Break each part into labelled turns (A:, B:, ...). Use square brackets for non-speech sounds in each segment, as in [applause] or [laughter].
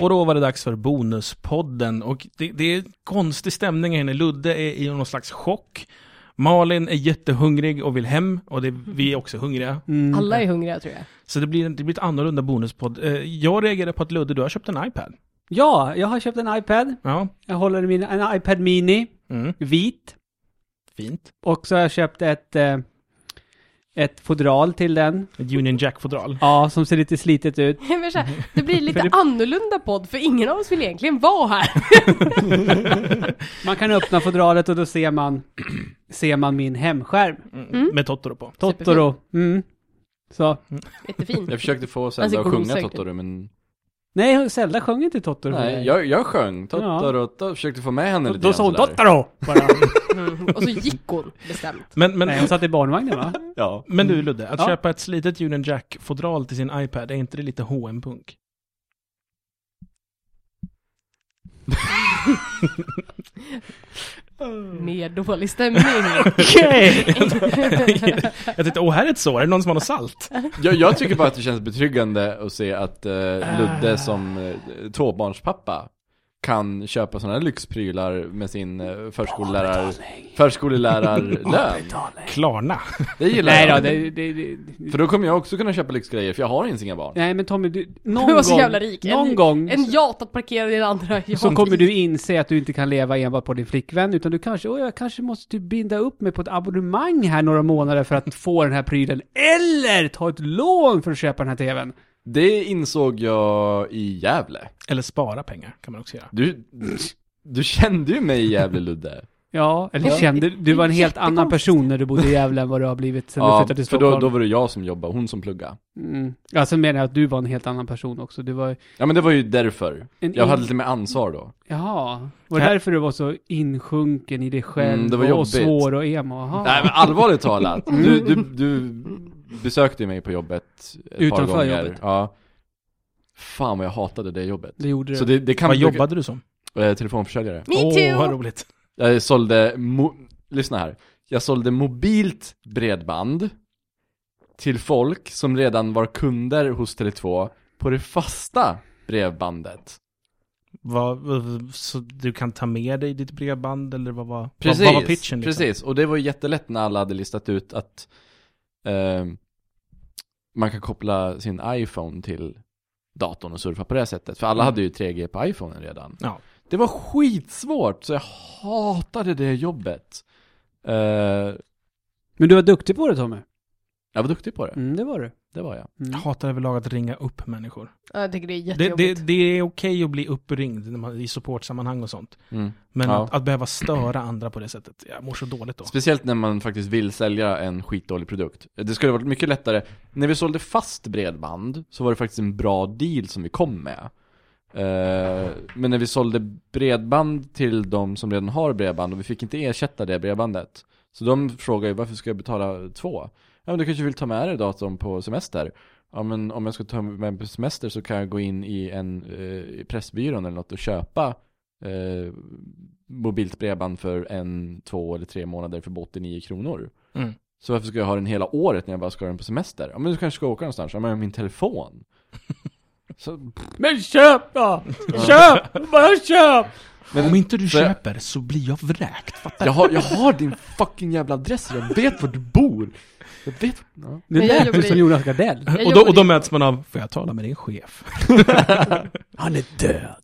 A: Och då var det dags för Bonuspodden. Och det, det är konstig stämning här inne. Ludde är i någon slags chock. Malin är jättehungrig och vill hem. Och det, vi är också hungriga.
B: Mm.
C: Alla är hungriga tror
A: [laughs]
C: jag.
A: Så det blir, det blir ett annorlunda Bonuspodd. Eh, Jag reagerade på att Ludde, du har köpt en iPad.
B: Ja, jag har köpt en iPad.
A: Ja,
B: Jag håller i min, en iPad Mini,
A: mm,
B: vit.
A: fint.
B: Och så har jag köpt ett, eh, ett fodral till den.
A: Ett Union Jack-fodral.
B: Ja, som ser lite slitet ut.
C: Men så här, det blir lite annorlunda podd för ingen av oss vill egentligen vara här.
B: Man kan öppna fodralet och då ser man, [clears throat] ser man min hemskärm.
C: Mm.
A: Med Totoro på.
B: Totoro. Mm. Så.
C: Jättefin.
D: Jag försökte få
C: ser
D: Zelda att sjunga
C: gosäker.
D: Totoro men...
B: Nej, Zelda sjöng inte Totoro.
D: Nej, jag, jag sjöng Totoro, ja. försökte få med henne
B: Då-
D: lite
B: Då sa hon
D: sådär.
B: Totoro! Bara.
C: Mm. Och så gick hon bestämt.
A: [laughs] Men, men,
B: Nej, hon satt i
C: [laughs]
B: barnvagnen va?
D: Ja.
A: men du Ludde, att
B: Ja.
A: köpa ett slitet Union Jack-fodral till sin iPad, är inte det lite H&M punk Mm.
C: Mer dålig stämning.
A: Okej! [laughs] jag tänkte, åh här är ett sår, är det någon som har något salt?
D: Jag, jag tycker bara att det känns betryggande att se att eh,
B: Ah.
D: Ludde som eh, tvåbarnspappa kan köpa sådana här lyxprylar med sin eh, förskolelärar, förskollärarlön.
A: Klarna.
D: Det gillar
B: Nej då,
D: jag.
B: det, det, det,
D: För då kommer jag också kunna köpa lyxgrejer, för jag har ens inga barn.
B: Nej men Tommy, du, någon
C: Du var så
B: gång,
C: jävla rik.
B: någon
C: en,
A: Mm.
B: gång
C: En jat att parkera din andra jat.
B: så kommer du inse att du inte kan leva enbart på din flickvän, utan du kanske, åh jag kanske måste typ binda upp mig på ett abonnemang här några månader för att få den här prylen, eller ta ett lån för att köpa den här TVn.
D: Det insåg jag i Gävle.
A: Eller spara pengar, kan man också göra.
D: Du, du kände ju mig i Gävle Ludde.
B: Ja, eller
C: Ja.
B: kände, du var en helt annan
C: Jättekonstigt.
B: person när du bodde i Gävle än vad du har blivit sen du flyttade till
D: för då,
B: Stockholm.
D: då var det jag som jobbade, hon som pluggade.
B: Mm. Ja, sen menar jag att du var en helt annan person också. Du var,
D: Ja men det var ju därför.
B: En
D: Jag
B: in-
D: hade lite mer ansvar då.
B: jaha, var det
A: Kan-
B: därför du var så insjunken i dig själv
D: Mm, det var
B: och
D: jobbigt.
B: svår och emo? Jaha.
D: Nej men allvarligt talat.
B: Mm.
D: Du, du, du besökte ju mig på jobbet ett
B: Utanför
D: par gånger.
B: jobbet.
D: Ja. Fan vad jag hatade det jobbet.
B: Det gjorde du.
D: Så det, det kan
A: Vad jobbade du som?
D: Eh, telefonförsäljare.
C: Me
A: Åh,
C: too!
A: vad roligt.
D: Jag sålde, mo- lyssna här. Jag sålde mobilt bredband till folk som redan var kunder hos Tele2 på det fasta bredbandet.
A: Vad, vad- så du kan ta med dig ditt bredband, eller vad var,
D: Precis,
A: vad, vad var pitchen? Liksom?
D: precis. Och det var ju jättelätt när alla hade listat ut att eh, man kan koppla sin iPhone till datorn och surfa på det här sättet. För alla hade ju 3G på iPhonen redan.
A: Mm. Ja.
D: Det var skitsvårt, så jag hatade det jobbet. Eh,
B: Men du var duktig på det Tommy.
D: jag var duktig på det,
B: Mm, det var du. Mm.
D: det var jag.
A: Jag hatar överlag att ringa upp människor.
C: Ja, jag tycker det är
A: Det, det,
C: jättejobbigt.
A: det är okej att bli uppringd när man, i supportsammanhang och sånt.
D: Mm.
A: Men
D: Ja.
A: att, att behöva störa andra på det sättet, jag mår så dåligt då.
D: Speciellt när man faktiskt vill sälja en skitdålig produkt. Det skulle ha varit mycket lättare. När vi sålde fast bredband så var det faktiskt en bra deal som vi kom med. Eh, Men när vi sålde bredband till de som redan har bredband och vi fick inte ersätta det bredbandet. Så de frågade ju varför ska jag betala två? Ja men du kanske vill ta med dig datorn på semester? Ja men om jag ska ta med mig på semester så kan jag gå in i en eh, i Pressbyrån eller något och köpa eh, mobilt bredband för en, två eller tre månader för 89 kronor.
A: Mm.
D: Så varför ska jag ha den hela året när jag bara ska ha den på semester? Ja men du kanske ska åka någonstans? Ja men
B: [laughs]
D: min telefon. Så,
B: Men köp då! Köp! Bara köp!
A: Om inte du
D: så jag-
A: köper så blir jag vräkt, fattar
D: jag, har, jag har din fucking jävla adress, jag vet var du bor. Jag vet. Ja.
B: Nu
C: Men jag
B: lät du
C: jobbade i-
B: som Jonas Gardell.
C: Jag
A: du? Och då, och
C: jobbade
A: då
C: ju-
A: möts man av, får jag tala med din chef?
B: Han är död.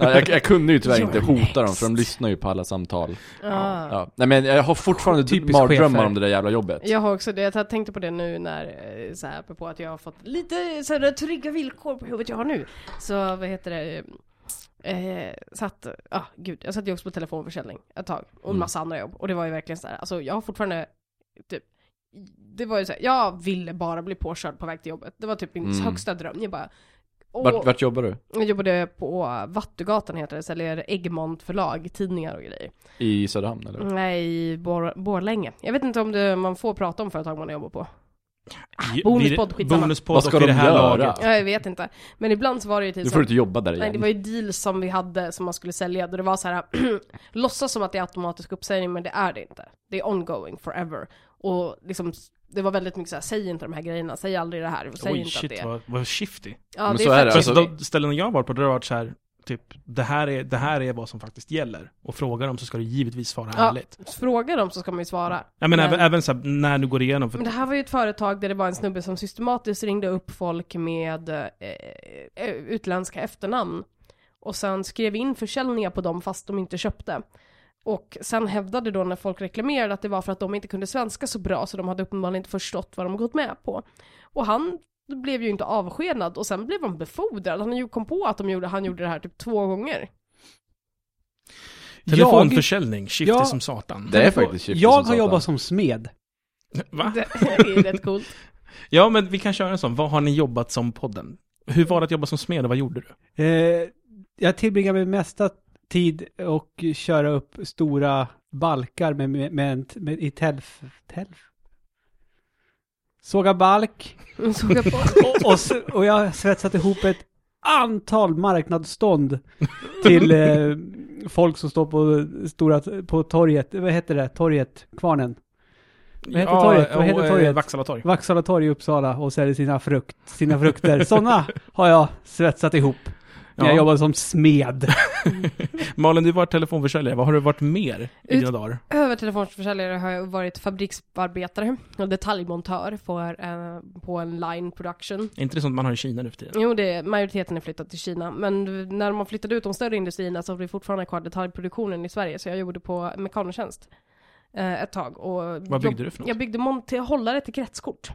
D: Ja, jag, jag kunde ju tyvärr inte hota dem för de lyssnar ju på alla samtal.
C: Ja.
D: Ja. Nej men jag har fortfarande
A: Typiskt
D: mardrömmar
A: chefer.
D: om det där jävla jobbet.
C: Jag har också det, jag tänkte på det nu när, eh, så här, apropå att jag har fått lite så här, trygga villkor på jobbet jag har nu. Så vad heter det? Eh, satt, ja ah, gud, jag satt ju också på telefonförsäljning ett tag. Och en
D: Mm.
C: massa andra jobb. Och det var ju verkligen så här, alltså jag har fortfarande, typ, det var ju så här, jag ville bara bli påkörd på väg till jobbet. Det var typ min
D: Mm.
C: högsta dröm. Jag bara, åh.
D: Vart, vart jobbar du?
C: jag jobbade på Vattugatan heter det, säljer Egmont förlag, tidningar och grejer.
D: I Söderhamn eller?
C: Nej, i Bor- Borlänge. Jag vet inte om det, man får prata om företag man jobbar på.
A: Vid-
C: Ah, bonuspodd, skitsamma.
A: Bonuspodd
D: Vad ska
A: och i
D: de
A: det här
D: göra?
A: laget.
C: Ja, jag vet inte. Men ibland så var det ju
D: Du
C: typ
D: får
C: så,
D: inte jobba där
C: Nej, det
D: igen.
C: var ju deals som vi hade som man skulle sälja. Där det [clears throat] var så här, låtsas som att det är automatisk uppsägning men det är det inte. Det är ongoing forever. Och liksom, det var väldigt mycket så här, säg inte de här grejerna, säg aldrig det här, och säg
A: Oj
C: inte att det
A: shit vad, vad shifty.
C: Ja,
D: Men så är det,
C: fett
A: För
D: alltså.
C: shifty.
A: de ställen jag har varit på, där har det varit så här, typ det här, är, det här är vad som faktiskt gäller. Och frågar dem så ska du givetvis svara
C: Ja.
A: ärligt.
C: Fråga dem så ska man ju svara.
A: Ja, men,
C: Men-
A: även, även så här, när du går igenom, för
C: Men det här var ju ett företag där det var en snubbe som systematiskt ringde upp folk med eh, eh, utländska efternamn. Och sen skrev in försäljningar på dem fast de inte köpte. Och sen hävdade då när folk reklamerade att det var för att de inte kunde svenska så bra så de hade uppenbarligen inte förstått vad de gått med på. Och han blev ju inte avskedad och sen blev han befordrad. Han ju- kom på att de gjorde, han gjorde det här typ två gånger.
A: telefonförsäljning, shifty
B: Ja.
A: som satan.
D: Det är faktiskt shifty
B: Jag
D: som
B: har
D: satan.
B: jobbat som smed.
A: Va?
C: Det är rätt coolt.
A: Ja, men vi kan köra en sån. Vad har ni jobbat som podden? Hur var det att jobba som smed och vad gjorde du?
B: Eh, jag tillbringar min mesta tid och köra upp stora balkar med, med, med, med i tälf, tälf. Såga balk
C: Såg jag på.
B: och, och, s- och jag har svetsat ihop ett antal marknadsstånd till eh, folk som står på stora, på torget, vad heter det, torget, kvarnen, Vad heter torget? Vad heter
A: och, eh,
B: torget?
A: Vaksala torg.
B: Vaksala torg i Uppsala och säljer sina, frukt, sina frukter. [laughs] Sådana har jag svetsat ihop när
A: Ja.
B: jag jobbade som smed.
A: Malin, du var telefonförsäljare. Vad har du varit mer i
C: Ut-
A: dina dagar?
C: Över telefonförsäljare har jag varit fabriksarbetare och detaljmontör för, eh, på en line production.
A: Är inte det sånt man har i Kina nu för tiden?
C: Jo, det, är- majoriteten är flyttat till Kina, men när man flyttade ut de större industrierna så har vi fortfarande kvar detaljproduktionen i Sverige, så jag jobbade på mekanikertjänst eh, ett tag. Och
A: Vad byggde du för något?
C: Jag byggde monte- hållare till kretskort.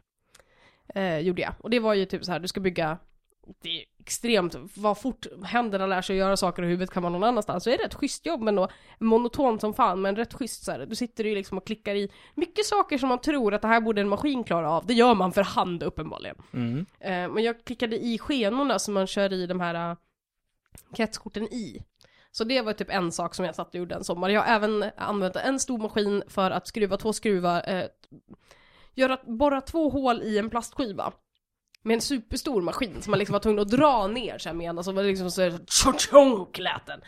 C: Eh, gjorde jag. Och det var ju typ så här, du ska bygga, det är extremt, vad fort händerna lär sig att göra saker och huvudet kan vara någon annanstans. Så det är ett rätt schysst jobb men då, monotont som fan, men rätt schysst så här. Du sitter ju liksom och klickar i mycket saker som man tror att det här borde en maskin klara av. Det gör man för hand uppenbarligen.
A: Mm.
C: Eh, men jag klickade i skenorna som man kör i de här eh, kretskorten i. Så det var typ en sak som jag satt och gjorde en sommar. Jag har även använt en stor maskin för att skruva två skruvar, eh, göra, borra två hål i en plastskiva. Med en superstor maskin som man liksom var tvungen att dra ner så här med ena, så var det liksom så här, tjong lät den.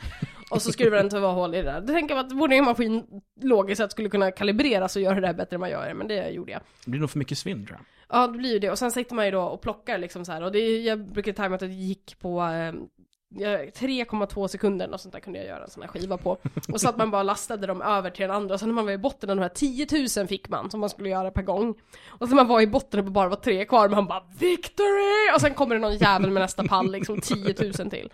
C: Och så skruvar den två hål i det där. Då tänker man att vore en maskin logiskt sett skulle kunna kalibreras och göra det där bättre än man gör, men det gjorde jag.
A: Det blir nog för mycket svinn tror jag.
C: Ja, det blir ju det. Och sen sitter man ju då och plockar liksom så här. Och det, är- jag brukar tajma att det gick på eh, ja, 3,2 sekunder och sånt där kunde jag göra en sån här skiva på. Och så att man bara lastade dem över till den andra. Och sen när man var i botten av de här 10 000 fick man som man skulle göra per gång. Och sen när man var i botten och det bara var tre kvar, man bara victory! Och sen kommer det någon jävel med nästa pall, liksom 10 000 till.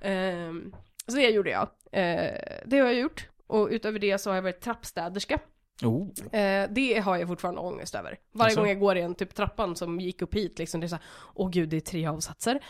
C: Ehm, så det gjorde jag. Eh, det har jag gjort. Och utöver det så har jag varit trappstäderska.
A: Oh.
C: Eh, det har jag fortfarande ångest över. Varje
A: Alltså?
C: gång jag går i en typ trappan som gick upp hit, liksom, det är så här, åh gud, det är tre avsatser.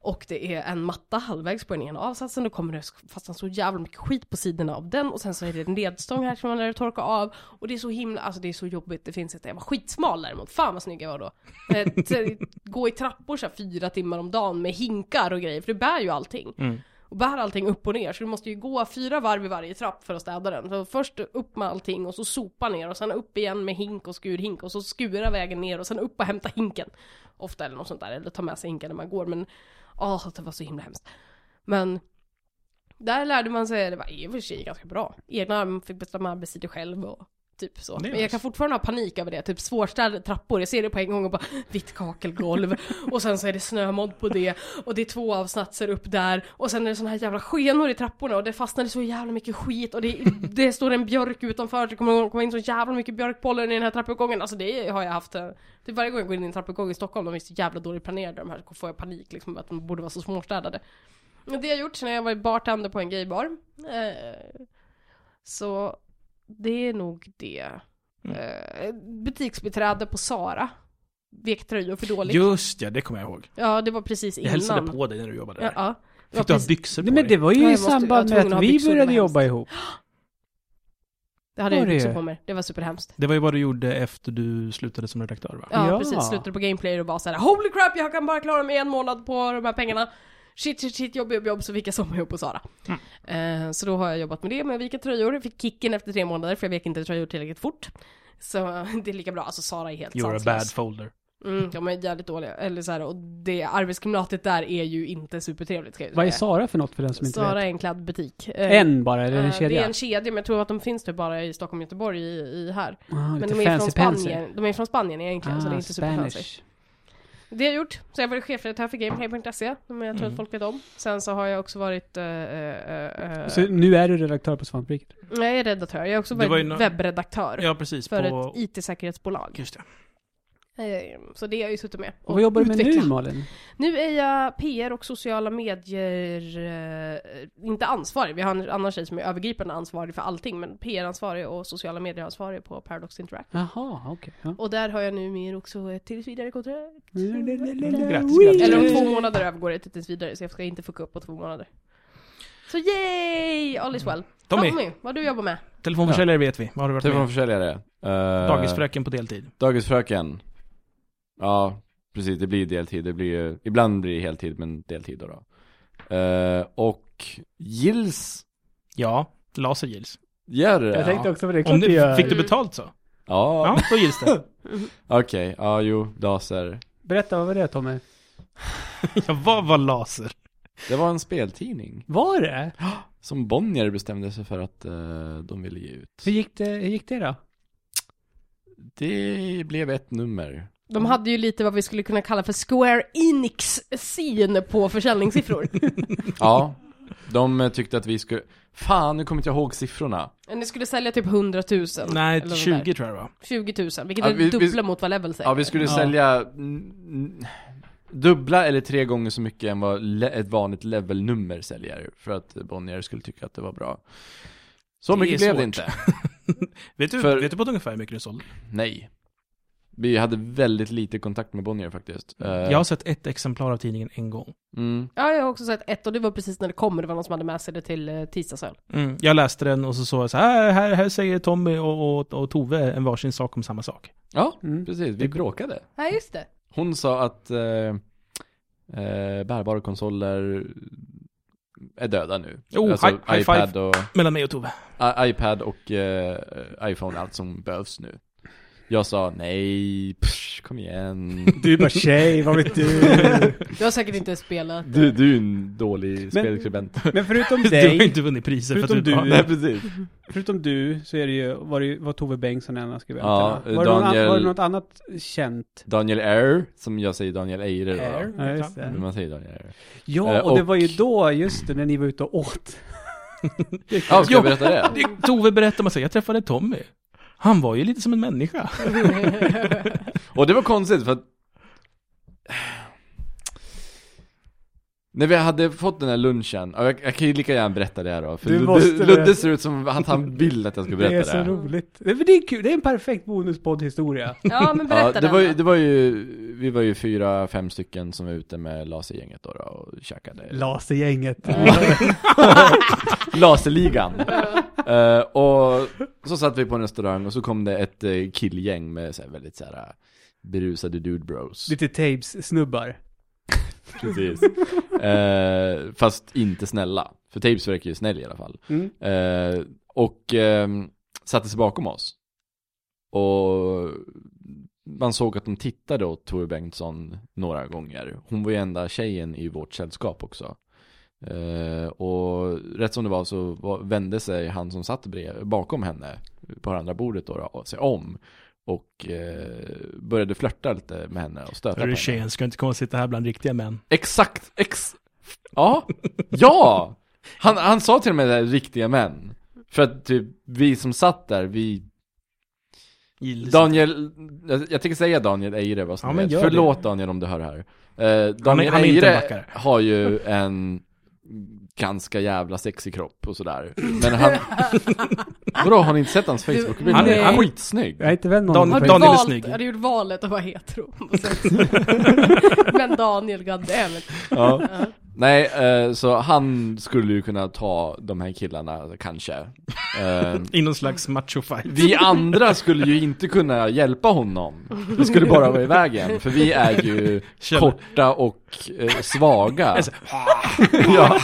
C: Och det är en matta halvvägs på den ena avsatsen, då kommer det fastna så jävla mycket skit på sidorna av den. Och sen så är det en ledstång här som man lär torka av. Och det är så himla, alltså det är så jobbigt, det finns inte. Jag var skitsmal däremot, fan vad snygg jag var då. Eh, t- gå i trappor så här fyra timmar om dagen med hinkar och grejer, för du bär ju allting
A: Mm.
C: och bär allting upp och ner. Så du måste ju gå fyra varv i varje trapp för att städa den. Så först upp med allting och så sopa ner och sen upp igen med hink och skurhink och så skura vägen ner och sen upp och hämta hinken. Ofta eller något sånt där, eller ta med sig hinken när man går. Men ah, det var så himla hemskt. Men där lärde man sig, det var i och för sig ganska bra. Egna arm fick bestämma arbetstider själv och typ så.
A: Det är
C: Men jag kan
A: nice.
C: fortfarande ha panik över det, typ svårstädade trappor. Jag ser det på en gång och bara
A: [laughs]
C: vitt kakelgolv och sen så är det snömodd på det och det är två avsatser upp där och sen är det såna här jävla skenor i trapporna och det fastnade så jävla mycket skit och det, det står en björk utanför så det kommer komma in så jävla mycket björkpollen i den här trappuppgången. Alltså det har jag haft. eh, Det är varje gång jag går in i en trappuppgång i Stockholm, de är så jävla dåligt planerade de här, så får jag panik liksom att de borde vara så småstädade. Men Det har jag gjort sen jag var bartender på en gaybar. Eh, Så det är nog det.
A: Mm.
C: Eh, Butiksbiträde på Sara. Vek tröjor för dåligt.
A: Just ja, det kommer jag ihåg.
C: Ja, det var precis
A: Jag
C: innan.
A: hälsade på dig när du jobbade
C: Ja,
A: där.
C: ja. Det var
A: Fick du ha
C: precis-
A: byxor på
B: Nej, men det
A: dig?
B: var ju
C: Ja,
B: i
C: jag måste- jag var
B: samband med
C: tvungen att
B: att
C: ha
B: vi
C: byxor, det
B: började
C: var
B: jobba
C: hemskt.
B: ihop.
C: Det hade jag
B: Var det?
C: byxor på mig. Det var superhemskt.
A: Det var ju vad du gjorde efter du slutade som redaktör va?
C: Ja,
B: Ja.
C: precis. Slutade på Gameplayer och bara såhär Holy crap, jag kan bara klara mig en månad på de här pengarna. Shit, shit, shit, jobb, jobb, jobb. Så fick jag sommarjobb på Sara.
B: Mm.
C: Eh, så då har jag jobbat med det, med att vika tröjor. Jag fick kicken efter tre [laughs] månader för jag vek inte tröjor tillräckligt fort. Så det är lika bra. Alltså Sara är helt
A: You're a
C: sanslös.
A: bad folder.
C: Mm, de är jävligt dåliga. Eller så här, och det arbetsklimatet där är ju inte supertrevligt ska jag
B: Vad är
C: säga.
B: Sara för något för den som inte
C: Sara
B: vet?
C: är en kladdbutik. Eh,
B: En bara, eller en
C: eh, Det
B: kedja?
C: är en kedja, men jag tror att de finns typ bara i Stockholm och Göteborg i, i här.
B: Ah,
C: Men
B: lite
C: de är,
B: fancy Ah,
C: från
B: pansy.
C: Spanien. de är från Spanien egentligen, så det är inte superfancy. Det har jag gjort. Så jag har varit chefredaktör för Gameplay.se, men jag tror
A: Mm.
C: att folk vet om. Sen så har jag också varit... eh, eh, eh,
B: Så nu är du redaktör på Svampriket?
C: Nej, jag är redaktör. Jag har också
A: Det
C: varit
A: var ju nå-
C: webbredaktör
A: Ja, precis.
C: för
A: på...
C: ett IT-säkerhetsbolag.
A: Just det.
C: Eh, Så det har jag ju suttit med.
B: Mm. Och vad jobbar du med
C: utveckla.
B: nu Malin?
C: Nu är jag PR och sociala medier, eh, inte ansvarig, vi har en annan tjej som är övergripande ansvarig för allting, men PR-ansvarig och sociala medier-ansvarig på Paradox Interact.
B: Jaha, okej. Ja.
C: Och där har jag numera också ett tills vidare kontrakt.
A: Grattis,
C: Eller om två månader övergår det till tills vidare, så jag ska inte fucka upp på två månader. Så yay! All is well.
A: Tommy,
C: Tommy vad du jobbar med?
A: telefonförsäljare vet vi. Vad har du varit med?
D: Telefonförsäljare. Eh,
A: Dagisfröken på deltid.
D: Dagisfröken. Ja, precis. Det blir deltid. Det blir ju, ibland blir det heltid, men deltid då. då. Eh, och Gills
A: Ja, laser gills.
D: gör det.
B: Jag tänkte också på det,
A: Om
B: klart du
A: det,
B: gör.
A: fick du betalt så?
D: Ja,
A: Ja, då gills det.
D: okej. Ja, jo, laser.
B: Berätta, vad var det Tommy?
A: Ja, vad var laser?
D: Det var en speltidning
B: Var det?
D: som Bonnier bestämde sig för att eh, de ville ge ut.
B: Hur gick det, hur gick det då?
D: Det blev ett nummer.
C: De hade ju lite vad vi skulle kunna kalla för Square Enix-syn på försäljningssiffror.
D: Ja, de eh, tyckte att vi skulle... Fan, nu kommer inte jag ihåg siffrorna.
C: Ni skulle sälja typ 100 000. eller
A: Nej,
C: något
A: 20 tror jag det var.
C: där. 20 000, vilket
D: Ja,
C: är
D: vi- vi-
C: dubbla mot vad Level säger.
D: Ja, vi skulle
B: Ja.
D: sälja mm, mm, dubbla eller tre gånger så mycket än vad le- ett vanligt levelnummer säljer. För att Bonnier skulle tycka att det var bra. Så
A: Det
D: mycket
A: är
D: blev det
A: svårt.
D: inte.
A: Vet du,
D: För-
A: vet du på ett ungefär hur mycket du sålde?
D: Nej. Vi hade väldigt lite kontakt med Bonnier faktiskt. Eh,
A: Jag har sett ett exemplar av tidningen en gång.
D: Mm,
C: Ja, jag har också sett ett och det var precis när det kom och det var någon som hade med sig det till eh, tisdagsöl.
A: Mm. Jag läste den och så såg jag så här, "Äh, här, här säger Tommy och, och, och Tove en varsin sak om samma sak.
D: ja,
B: Mm.
D: precis. Vi bråkade.
C: Nej, just det.
D: Hon sa att eh, eh, bärbara konsoler är döda nu. Alltså
A: Jo, hi- Oh, high
D: iPad och...
A: Mellan mig och Tove. [laughs]
D: I- iPad och eh, iPhone, allt som behövs nu. Jag sa nej, psh, kom igen.
B: Du är bara tjej, vad vet du?
C: Du har säkert inte spelat.
D: Du, du är en dålig spelskribent.
B: Men
D: [laughs]
B: förutom
A: Du har
B: dig,
A: inte vunnit priser för
B: Förutom
A: att du,
B: du.
A: Ja,
D: Nej, precis.
B: förutom du, så är det ju, var, det, ju- var Tove Bengtsson en av
D: Ja,
B: skribenterna. var, det någon an-
D: Daniel-
B: var det något annat känt?
D: Daniel Air, som jag säger Daniel Eire då.
A: Air.
B: Ja, just det.
D: Men man säger Daniel Air.
B: Ja,
D: Eh,
B: och det
D: och-
B: var ju då, just det, när ni var ute och åt.
D: [laughs]
B: [laughs]
D: Ja, ska jag
A: Ja.
D: berätta det?
A: Det- Mm. Tove berättar man säger, jag träffade Tommy. Han var ju lite som en människa.
D: Och det var konstigt för att När vi hade fått den här lunchen, ja, jag, jag kan ju lika gärna berätta det här då, för
B: Du måste
D: Ludde, Ludde ser ut som att han vill att jag ska berätta
B: Det
D: det.
B: är så roligt. Det, men det är kul, det är en perfekt
D: [laughs]
B: bonuspoddhisstoria.
C: Ja, men [laughs] berätta
D: [laughs] ja, det
C: den
D: var,
C: då.
D: ju, det var ju, vi var ju fyra, fem stycken som var ute med lasergänget då, då och
B: [laughs]
D: käkade.
B: Lasergänget.
D: Laserligan! Eh, och så satt vi på en restaurang och så kom det ett eh, killgäng med så här, väldigt så här eh, berusade
B: [laughs]
D: dude bros.
B: Lite Tabes-snubbar.
D: Precis. Eh, fast inte snälla. För Tapes verkar ju snäll i alla fall.
B: Mm.
D: Eh, och ehm, satte sig bakom oss. Och man såg att de tittade åt Tove Bengtsson några gånger. Hon var ju enda tjejen i vårt sällskap också. Eh, och rätt som det var så var, vände sig han som satt brev, bakom henne på det andra bordet då, då sig om. Och eh, började flörta lite med henne och stöta på
A: Hörru
D: henne.
A: tjejen, ska du inte komma och sitta här bland riktiga män?
D: Exakt, ex... Ja, ja! Han, han sa till och med det här, riktiga män. För att typ, vi som satt där, vi...
A: Gills.
D: Daniel, jag, jag tänker säga Daniel Eire vad som
A: Ja,
D: ja,
A: men
D: vet.
A: gör
D: Förlåt Daniel om du hör det här. Eh, Daniel
A: han är inte en
D: Eire
A: backare.
D: har ju en ganska jävla sexig kropp och sådär. Men han...
A: [laughs]
D: Vadå, har ni inte sett hans Facebook-bild?
A: Han
D: Han
A: är-
D: är
A: han-
D: skitsnygg.
B: Jag är inte vän med
A: Dan-
B: honom.
C: Har du,
A: Daniel är
C: valt,
A: snygg.
C: har du gjort valet att vara [laughs] hetero? men Daniel, goddammit.
D: Ja. Nej, eh, så han skulle ju kunna ta de här killarna, kanske.
A: [laughs]
D: Eh,
A: I någon slags machofight.
D: Vi andra skulle ju inte kunna hjälpa honom. Vi skulle bara vara i vägen, för vi är ju
A: Kjell.
D: korta och eh, svaga.
A: Alltså,
D: [laughs] Ja.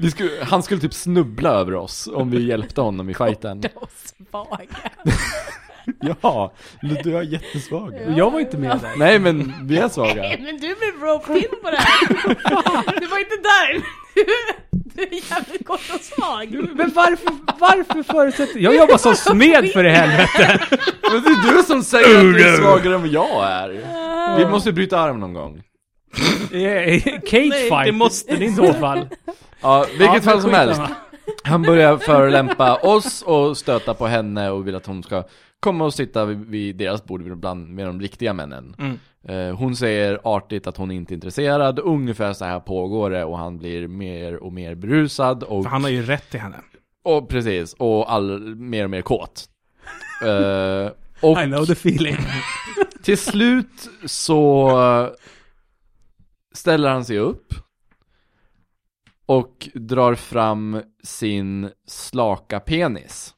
D: Vi skulle, han skulle typ snubbla över oss om vi hjälpte honom i fighten.
C: Det var svaga.
D: Ja, du är jättesvag.
B: Jag var inte med där.
D: Nej men vi är svaga.
C: Men du blev roped in på det här. [laughs] Du var inte där. Du är jävligt kort och svag.
B: Men varför, varför förutsätter... Jag jobbar som smed för i
D: [laughs]
B: helvete!
D: Men det är du som säger att du är svagare än vad jag är. Vi måste bryta arm någon gång.
B: Cage fight!
A: det måste
B: ni i så fall.
D: Ja,
B: Ja,
D: vilket
B: men
D: fall som helst.
B: skitsamma.
D: Han börjar förolämpa oss och stöta på henne och vill att hon ska komma och sitta vid, vid deras bord bland med de riktiga männen.
A: Mm.
D: Eh, hon säger artigt att hon inte är intresserad, ungefär så här pågår det och han blir mer och mer berusad och,
A: För han har ju rätt till henne.
D: och precis, och all, mer och mer kåt. Eh, och
B: I know the feeling.
D: till slut så ställer han sig upp och drar fram sin slaka penis.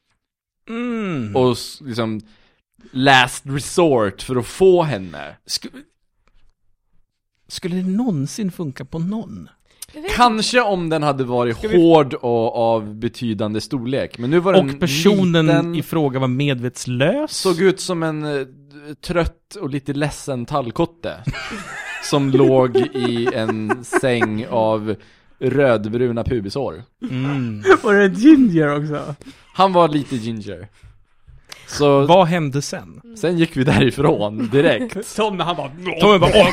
A: Mm.
D: Och s- liksom last resort för att få henne.
A: Sk- skulle det någonsin funka på någon?
D: Kanske om den hade varit
A: vi-
D: hård och av betydande storlek. Men nu var den
A: Och personen
D: liten,
A: i fråga var medvetslös?
D: såg ut som en eh, trött och lite ledsen tallkotte. [laughs] som låg i en säng av rödbruna pubisår.
A: Mm.
B: Var det en ginger också?
D: Han var lite ginger. Så
A: Vad hände sen?
D: sen gick vi därifrån direkt.
B: Som när han bara...
A: Tommy bara åh,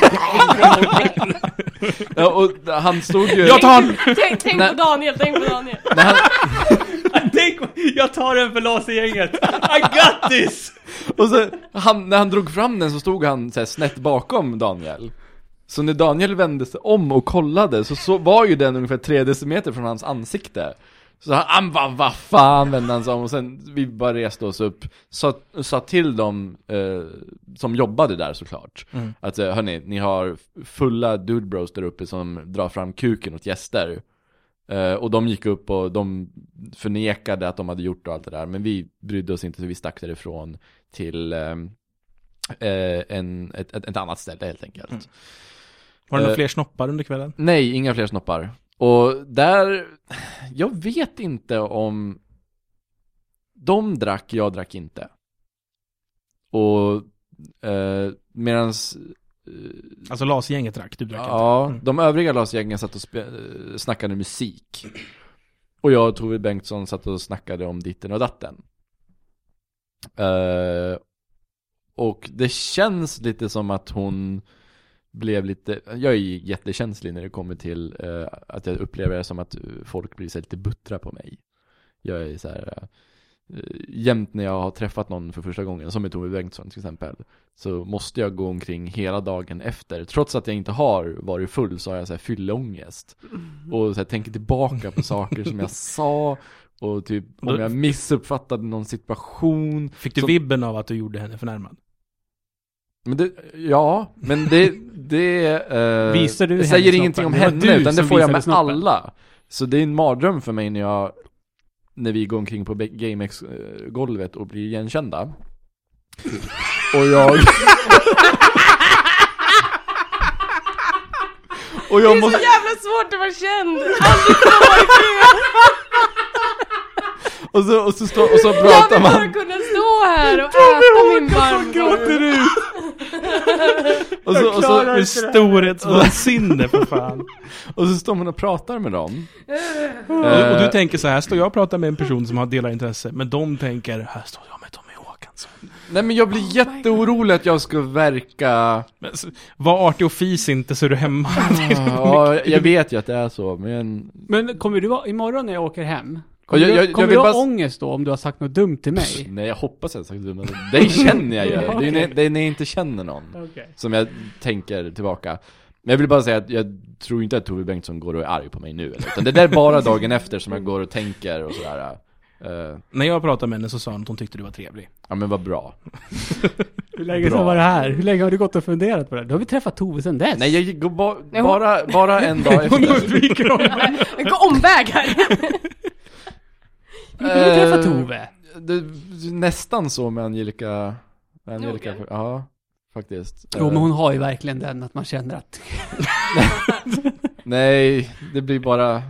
D: Ja, och han stod ju...
A: jag tar han!
C: Tänk, tänk
D: Nej.
C: på Daniel, tänk på Daniel.
D: när han,
B: [laughs] Tänk, jag tar den för lasergänget! [laughs] I got this!
D: och så, han, när han drog fram den så stod han så här, snett bakom Daniel. Så när Daniel vände sig om och kollade så, så var ju den ungefär tre decimeter från hans ansikte. Så han, han bara, vad fan vände han sig om och sen vi bara reste oss upp. Sa, sa till dem eh, som jobbade där såklart.
A: Mm.
D: Att eh, hörni, ni har fulla dude bros där uppe som drar fram kuken åt gäster. Eh, och de gick upp och de förnekade att de hade gjort och allt det där. Men vi brydde oss inte så vi stack därifrån till ehm, eh, en, ett, ett, ett annat ställe helt enkelt.
A: Mm. Var det några
D: Eh.
A: fler snoppar under kvällen?
D: Nej, inga fler snoppar. Och där, jag vet inte om de drack, jag drack inte. Och eh, medans
A: Alltså LAS-gänget drack, du drack
D: Ja,
A: inte. Mm.
D: de övriga LAS-gängen satt och spe- eh, snackade musik. Och jag och Tove Bengtsson satt och snackade om ditten och datten. Eh, och det känns lite som att hon blev lite, jag är ju jättekänslig när det kommer till eh, att jag upplever det som att eh, folk blir så här lite buttra på mig. Jag är så här, eh, jämt när jag har träffat någon för första gången, som är Tove Bengtsson till exempel, så måste jag gå omkring hela dagen efter. Trots att jag inte har varit full så har jag så här fylleångest. Och så här, tänker tillbaka på saker som jag sa och typ om
A: Då-
D: jag missuppfattade någon situation.
A: Fick du
D: Så-
A: vibben av att du gjorde henne förnärmad?
D: Men det, ja, men det, det eh,
B: Visar du
D: det
B: henne
D: säger
B: snoppen?
D: ingenting om
B: Det var du
D: henne utan det
B: som
D: får jag
B: visade
D: med
B: snoppen.
D: alla. Så det är en mardröm för mig när jag, när vi går omkring på Be- GameX-golvet och blir igenkända. Och jag... [laughs] och
C: Det
D: jag
C: är så
D: måste...
C: jävla svårt att vara känd.
D: Och så, och så, stå, och så
C: Jag
D: pratar
C: vill
D: man...
C: bara kunna stå här och äta min varmkorv.
B: ut!
D: Och så, och,
B: klarar
D: så,
A: Ur storhetsvansinne för [laughs] fan.
D: och så står man och pratar med dem.
C: Eh.
A: och, och
D: Eh,
A: du tänker så här, här står jag och pratar med en person som har delar intresse, men de tänker, här står jag med Tommy Håkansson.
D: Nej men jag blir
C: Oh
D: jätteorolig att jag ska verka...
A: Men, s- var artig och fis inte så är du [laughs] hemma.
B: [laughs]
D: Ja, jag vet ju att det är så, men...
B: Men kommer du vara, imorgon när jag åker hem,
D: Och
B: kommer
D: jag-
B: jag,
D: jag- jag
B: kommer
D: vill
B: du ha
D: bara-
B: ångest då om du har sagt något dumt till mig?
D: Nej, jag hoppas jag inte sagt det, men det känner
B: [laughs]
D: jag ju. Det är ju när, det är när jag inte känner någon
B: Okej.
D: som jag tänker tillbaka. Men jag vill bara säga att jag tror inte att Tove Bengtsson går och är arg på mig nu. Eller, utan det där är bara dagen efter som jag går och tänker och sådär. eh,
A: När jag pratade med henne så sa hon att hon tyckte du var [laughs] trevlig.
D: ja men vad bra.
B: Hur länge
D: Bra.
B: sedan var det här? Hur länge har du gått och funderat på det? Då har vi träffat Tove sedan dess.
D: Nej, jag går ba,
C: Nej, hon-
D: bara, bara
B: [laughs]
D: en dag efter.
A: undviker honom.
C: En omväg här.
B: Vi har träffat
D: Eh,
B: Tove.
D: Det, det är nästan så med Angelica. med Angelica
C: Nordgren.
D: ja, faktiskt.
B: Jo,
D: Eh,
B: men hon har ju verkligen den att man känner att
D: Nej, det blir bara...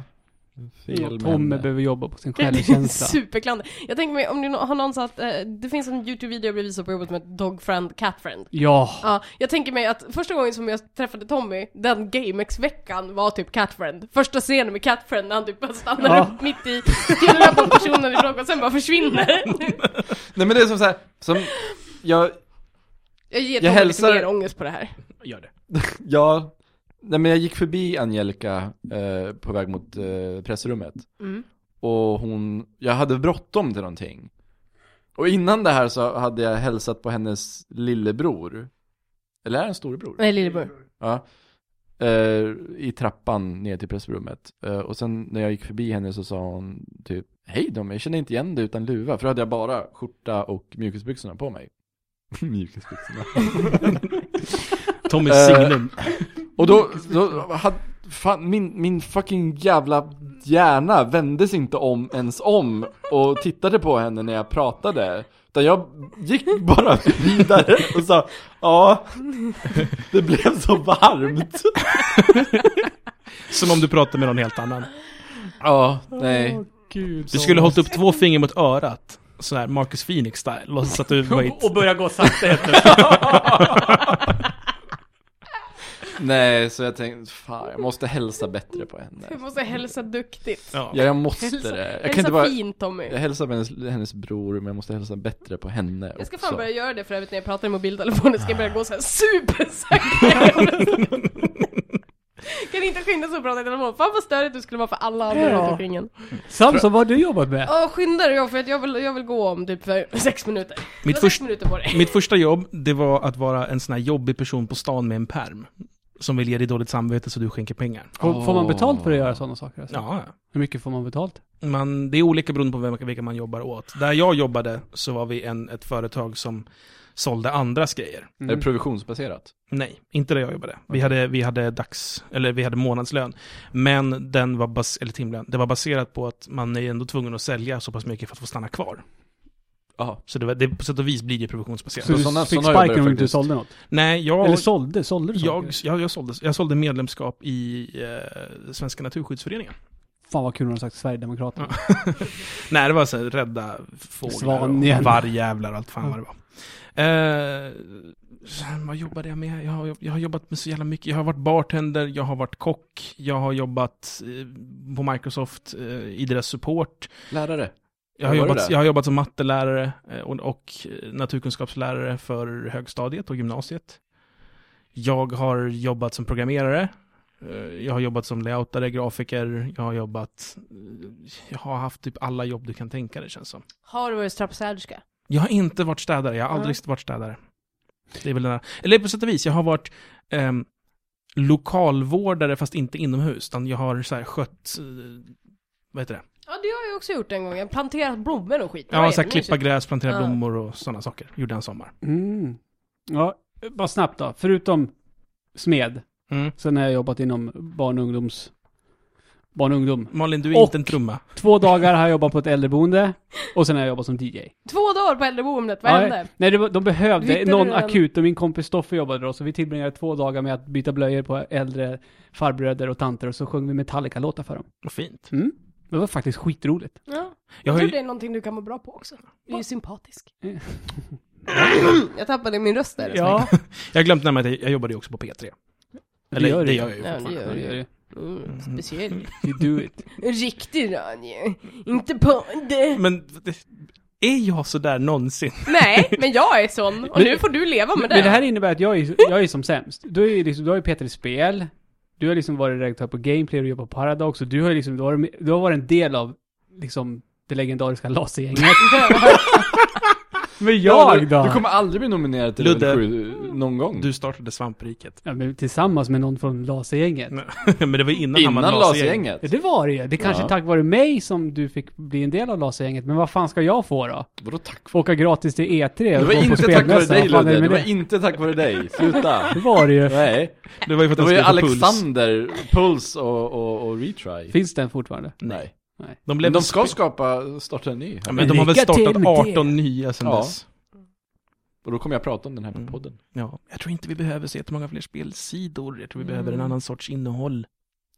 D: Fel med
B: Tommy
D: henne.
B: behöver jobba på sin
C: Det är
B: självkänsla.
C: superklander. Jag tänker mig, om det har någon sagt, eh, det finns en YouTube-video jag blev visad på jobbet som heter Dog Friend Cat Friend.
B: Ja,
C: Ja, jag tänker mig att första gången som jag träffade Tommy, den GameX-veckan var typ Catfriend. Första scenen med Catfriend när han typ bara stannar
B: Ja.
C: upp mitt i, stirrar på personen i fråga och sen bara försvinner.
D: Nej men det är som såhär, som, jag,
C: Jag ger
D: Jag
C: Tommy
D: hälsar-
C: lite mer ångest på det här.
A: [laughs] Gör det.
D: jag, nej men jag gick förbi Angelica eh, på väg mot eh, pressrummet.
C: Mm.
D: Och hon, jag hade bråttom till någonting. Och innan det här så hade jag hälsat på hennes lillebror. Eller är det en storebror?
C: Nej, lillebror.
D: Ja. Eh, I trappan ner till pressrummet. Eh, och sen när jag gick förbi henne så sa hon typ Hej då, men jag känner inte igen dig utan luva. För då hade jag bara skjorta och mjukisbyxorna på [laughs] mig. mjukisbyxorna.
A: Tommy
D: Eh,
A: Signum.
D: Och då, då hade, fan, min, min fucking jävla hjärna vändes inte om ens om och tittade på henne när jag pratade. Utan jag gick [laughs] bara vidare och sa ja, det blev så varmt.
A: Som om du pratade med någon helt annan.
D: [laughs] Ja, nej.
B: gud.
A: Du skulle hållit upp två fingrar mot örat. Sån här Marcus Phoenix style. Låtsas att du var [laughs] i ett...
E: Och börja gå sakta efter.
D: Nej, så jag tänkte, fan jag måste hälsa bättre på henne.
C: Du måste hälsa duktigt.
A: Ja.
D: Ja, jag måste
C: Hälsa,
D: det. Jag kan
C: hälsa
D: inte bara,
C: fint Tommy.
D: jag hälsar på hennes, hennes bror, men jag måste hälsa bättre på henne
C: Jag ska
D: också.
C: fan börja göra det för övrigt när jag pratar i mobiltelefonen ska jag börja gå så här supersakta. kan inte skynda sig att prata i telefon. Fan vad störigt du skulle vara för alla andra
B: Ja.
C: runt omkring en.
B: Samson, vad har du jobbat med?
C: Ja, skynda dig då, för att jag vill, jag vill gå om typ för sex minuter. Du har
A: Mitt,
C: sex
A: först,
C: minuter på dig.
A: mitt första jobb, det var att vara en sån här jobbig person på stan med en perm. Som vill ge dig dåligt samvete så du skänker pengar.
B: Får, får man betalt för att
D: Åh.
B: göra sådana saker? Alltså?
A: Ja,
B: Hur mycket får man betalt?
A: man, det är olika beroende på vem, vilka man jobbar åt. Där jag jobbade så var vi en, ett företag som sålde andras grejer.
B: Mm.
D: Är det provisionsbaserat?
A: Nej, inte där jag jobbade. Vi hade, vi hade dags, eller vi hade månadslön. Men den var, bas, eller timlön, det var baserat på att man är ändå tvungen att sälja så pass mycket för att få stanna kvar.
D: Jaha.
A: Så det, var, det på sätt och vis blir det provisionsbaserat.
B: Så du
D: sådana-
B: fick
D: sådana jobbar
B: sparken
D: jag
B: om du inte
D: faktiskt.
B: sålde något?
A: Nej, jag...
B: Eller sålde? Sålde du
A: Jag,
B: saker?
A: jag, jag, sålde, jag sålde medlemskap i eh, Svenska Naturskyddsföreningen.
B: Fan vad kul när de sagt Sverigedemokraterna.
A: Nej, det var så här, rädda fåglar,
B: Svanjävlar.
A: och vargjävlar och allt fan vad det var. Eh, sen, vad jobbade jag med? Jag har, jag har jobbat med så jävla mycket. Jag har varit bartender, jag har varit kock, jag har jobbat eh, på Microsoft eh, i deras support.
D: Lärare?
A: Jag har,
D: Var det
A: jobbat,
D: det?
A: jag har jobbat som mattelärare eh, och, och naturkunskapslärare för högstadiet och gymnasiet. Jag har jobbat som programmerare. Eh, Jag har jobbat som layoutare, grafiker. Jag har jobbat... eh, Jag har haft typ alla jobb du kan tänka dig känns som.
C: Har du varit trappstäderska?
A: Jag har inte varit städare. Jag har aldrig varit städare. Det är väl den här. Eller på sätt och vis, jag har varit ehm, lokalvårdare fast inte inomhus. Utan jag har så här skött... eh, vad heter det?
C: Ja, det har jag också gjort en gång. Jag har planterat blommor och skit. Det var
A: Ja, så här,
C: jättemysigt.
A: klippa gräs, plantera
C: Ja.
A: blommor och sådana saker. Gjorde jag en sommar.
B: Mm. Ja, bara snabbt då. Förutom smed,
A: Mm.
B: sen har jag jobbat inom barn och ungdoms... Barn och ungdom.
A: Malin, du är
B: Och-
A: inte en trumma.
B: Två dagar har jag jobbat på ett äldreboende och sen har jag jobbat som DJ.
C: Två dagar på äldreboendet, vad
B: Ja,
C: hände?
B: Nej, det var, de behövde
C: Hittade
B: någon
C: du den?
B: akut och min kompis Stoffe jobbade då, så vi tillbringade två dagar med att byta blöjor på äldre farbröder och tanter och så sjöng vi Metallica-låtar för dem.
A: Vad fint.
B: Mm. Det var faktiskt skitroligt.
C: Ja.
A: Jag
C: Jag
A: har
C: tror
A: ju,
C: det är någonting du kan må bra på också. Du är ju sympatisk. jag tappade min röst där.
B: Ja,
A: jag har glömt nämna att jag, jag jobbade ju också på P3. Eller,
B: gör
A: det,
B: du.
A: gör jag ju.
C: Ja, det
A: fortfarande.
C: gör du.
B: you
C: Mm, speciell.
B: do it.
C: En riktig radio. Inte bonde.
A: Men det, är jag sådär någonsin?
C: Nej, men jag är sån. Och nu får du leva med det.
B: Men det här innebär att jag är, jag är som sämst. Du har ju liksom, du har ju Peter i spel, du har liksom varit redaktör på Gameplay och jobbat på Paradox och du har ju liksom, du har, varit med- du har varit en del av liksom det legendariska Lasergänget. [laughs] men jag då?
D: Du kommer aldrig bli nominerad till
A: Ludde.
D: Ludde. någon gång.
A: Du startade svampriket.
B: Ja, men tillsammans med någon från Lasergänget.
A: Nej. [laughs] men det var innan,
D: Innan
A: Hammar Lasergäng.
D: LAS-gänget?
B: Ja, det var det ju. Det kanske
D: Ja.
B: tack vare mig som du fick bli en del av Lasergänget. Men vad fan ska jag få då?
D: Vadå tack för?
B: Åka gratis till E3
D: Det
B: och
D: var
B: gå på
D: inte tack vare
B: spelmässa?
D: dig
B: Vad fan är
D: Ludde,
B: det
D: det
B: med
D: var
B: det?
D: inte tack vare dig. Sluta.
B: Det var det ju.
D: Nej.
A: Det var ju för att
D: Det
A: de
D: var ju
A: skulle få puls.
D: Alexander, Puls och, och, och Retry.
B: Finns den fortfarande?
D: Nej.
A: De,
D: Men
A: blev
D: de ska
A: spe-
D: skapa, starta en ny.
A: ja,
D: här.
A: men de har väl
B: Lycka till
A: startat
B: med det.
A: 18 nya sedan
D: Ja.
A: dess.
D: Och då kommer jag prata om den här på
A: Mm.
D: podden.
A: Ja, jag tror inte vi behöver så jättemånga fler spelsidor. Jag tror vi behöver en
C: Mm.
A: annan sorts innehåll.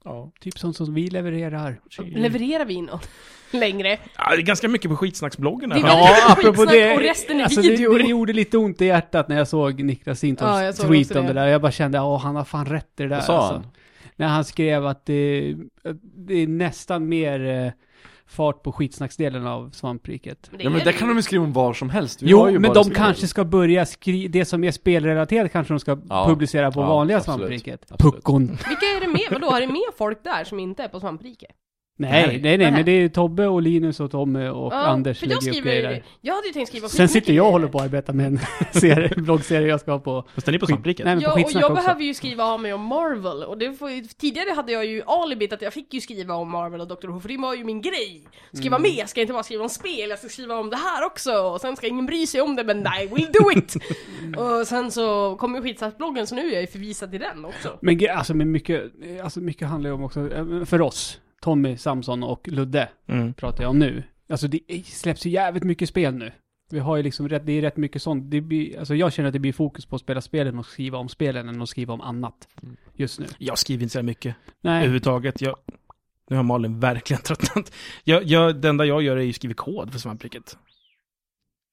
B: Ja, typ sånt som vi levererar.
C: Levererar vi något längre?
A: Ja, det är ganska mycket på skitsnacksbloggen.
C: Det är
A: här.
C: väldigt
A: Ja.
C: mycket skitsnack och resten är
B: alltså
C: videor.
B: det, det gjorde lite ont i hjärtat när jag såg Niklas Sintons
C: Ja, jag såg
B: tweet
C: också det.
B: om det där. Jag bara kände, åh han har fan rätt i det där.
D: Vad sa
B: alltså.
D: han?
B: När han skrev att det, att det är nästan mer eh, fart på skitsnacksdelen av svampriket.
C: Men det
D: Ja men
C: är
D: där
C: det
D: kan
C: ju.
D: de ju skriva om vad som helst. Vi har ju
B: Jo, men
D: bara
B: de
D: spel.
B: kanske ska börja skriva, det som är spelrelaterat kanske de ska
D: Ja,
B: publicera på
D: ja,
B: vanliga
D: absolut,
B: svampriket.
D: absolut.
B: Puckon.
C: Vilka är det med? Vadå, har det med folk där som inte är på svamprike?
B: Nej, nej, nej,
C: Nej.
B: men det är Tobbe och Linus och Tommy och
C: Ja,
B: Anders
C: för jag
B: lägger upp grejer
C: skriver
B: där.
C: Jag hade ju tänkt skriva
B: Sen sitter
C: skitmycket
B: jag och
C: grejer.
B: håller på att arbeta med en [laughs] serie, bloggserie jag ska ha på.
A: Fast den är på
B: Skit-
A: svampriket.
B: Nej, men på
C: Ja, och
B: skitsnack
C: jag
B: också.
C: behöver ju skriva av mig om Marvel. Och det får, ju- tidigare hade jag ju alibit att jag fick ju skriva om Marvel och Dr. Who, för det var ju min grej. Skriva
B: Mm.
C: med, jag ska inte bara skriva om spel, jag ska skriva om det här också. Och sen ska ingen bry sig om det, men I will do
B: [laughs]
C: it! och sen så kom ju skitsatsbloggen, så nu är jag ju förvisad till den också.
B: Men gre- alltså, men mycket, alltså mycket handlar ju om också, eh, för oss, Tommy, Samson och Ludde
A: Mm.
B: pratar jag om nu. Alltså det är- släpps ju jävligt mycket spel nu. Vi har ju liksom rätt, det är rätt mycket sånt. Det blir, alltså jag känner att det blir fokus på att spela spelen och skriva om spelen än att skriva om annat just nu.
A: Jag skriver inte så här mycket
B: Nej,
A: överhuvudtaget. Jag... Nu har Malin verkligen [laughs] tröttnat. Jag, jag, det enda jag gör är ju skriva kod för svampriket.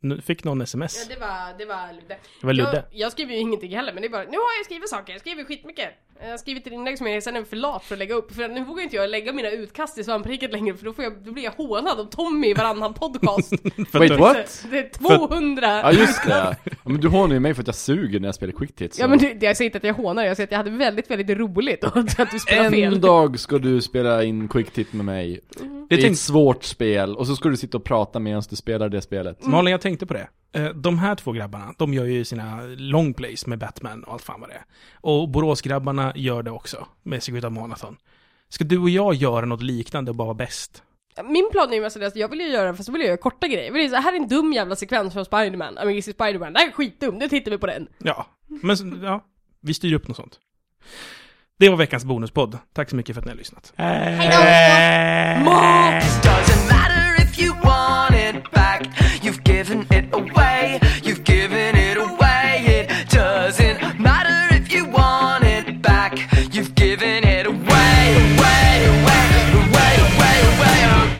A: Nu fick någon
C: Ja,
A: sms.
C: det var, det var Ludde.
A: Det var Ludde.
C: Jag, jag skriver ju ingenting heller, men det är bara, nu har jag skrivit saker, jag skriver skitmycket. Jag har skrivit ett inlägg som jag sen är för lat för att lägga upp, för nu vågar inte jag lägga mina utkast i svampriket längre, för då, får jag, då blir jag hånad av Tommy i varannan podcast.
A: För
D: Wait,
A: att-
D: what?
C: Det är 200!
D: Ja just det. Ja, men du hånar ju mig för att jag suger när jag spelar quick hits.
C: Ja men det, det- jag säger inte att jag hånar, jag säger att jag hade väldigt, väldigt roligt och [laughs] att du spelar fel. Mm.
D: En dag ska du spela in quick hit med mig. Det
A: Jag
D: är ett
A: tänkte,
D: svårt spel och så ska du sitta och prata medan du spelar det spelet.
C: Mm.
A: Malin, jag tänkte på det. Eh, De här två grabbarna, de gör ju sina longplays med Batman och allt fan vad det är. Och Boråsgrabbarna gör det också, med Secret of Marathon. Ska du och jag göra något liknande och bara vara bäst?
C: Min plan är ju mest att jag vill ju göra, fast så vill jag göra korta grejer. Jag vill ju säga, här är en dum jävla sekvens från Spiderman, Amazing Spiderman, det här är skitdum, nu tittar vi på den.
A: Ja, men så- ja, vi styr upp något sånt. Det var veckans bonuspodd. Tack så mycket för att ni har lyssnat.
C: Hej då!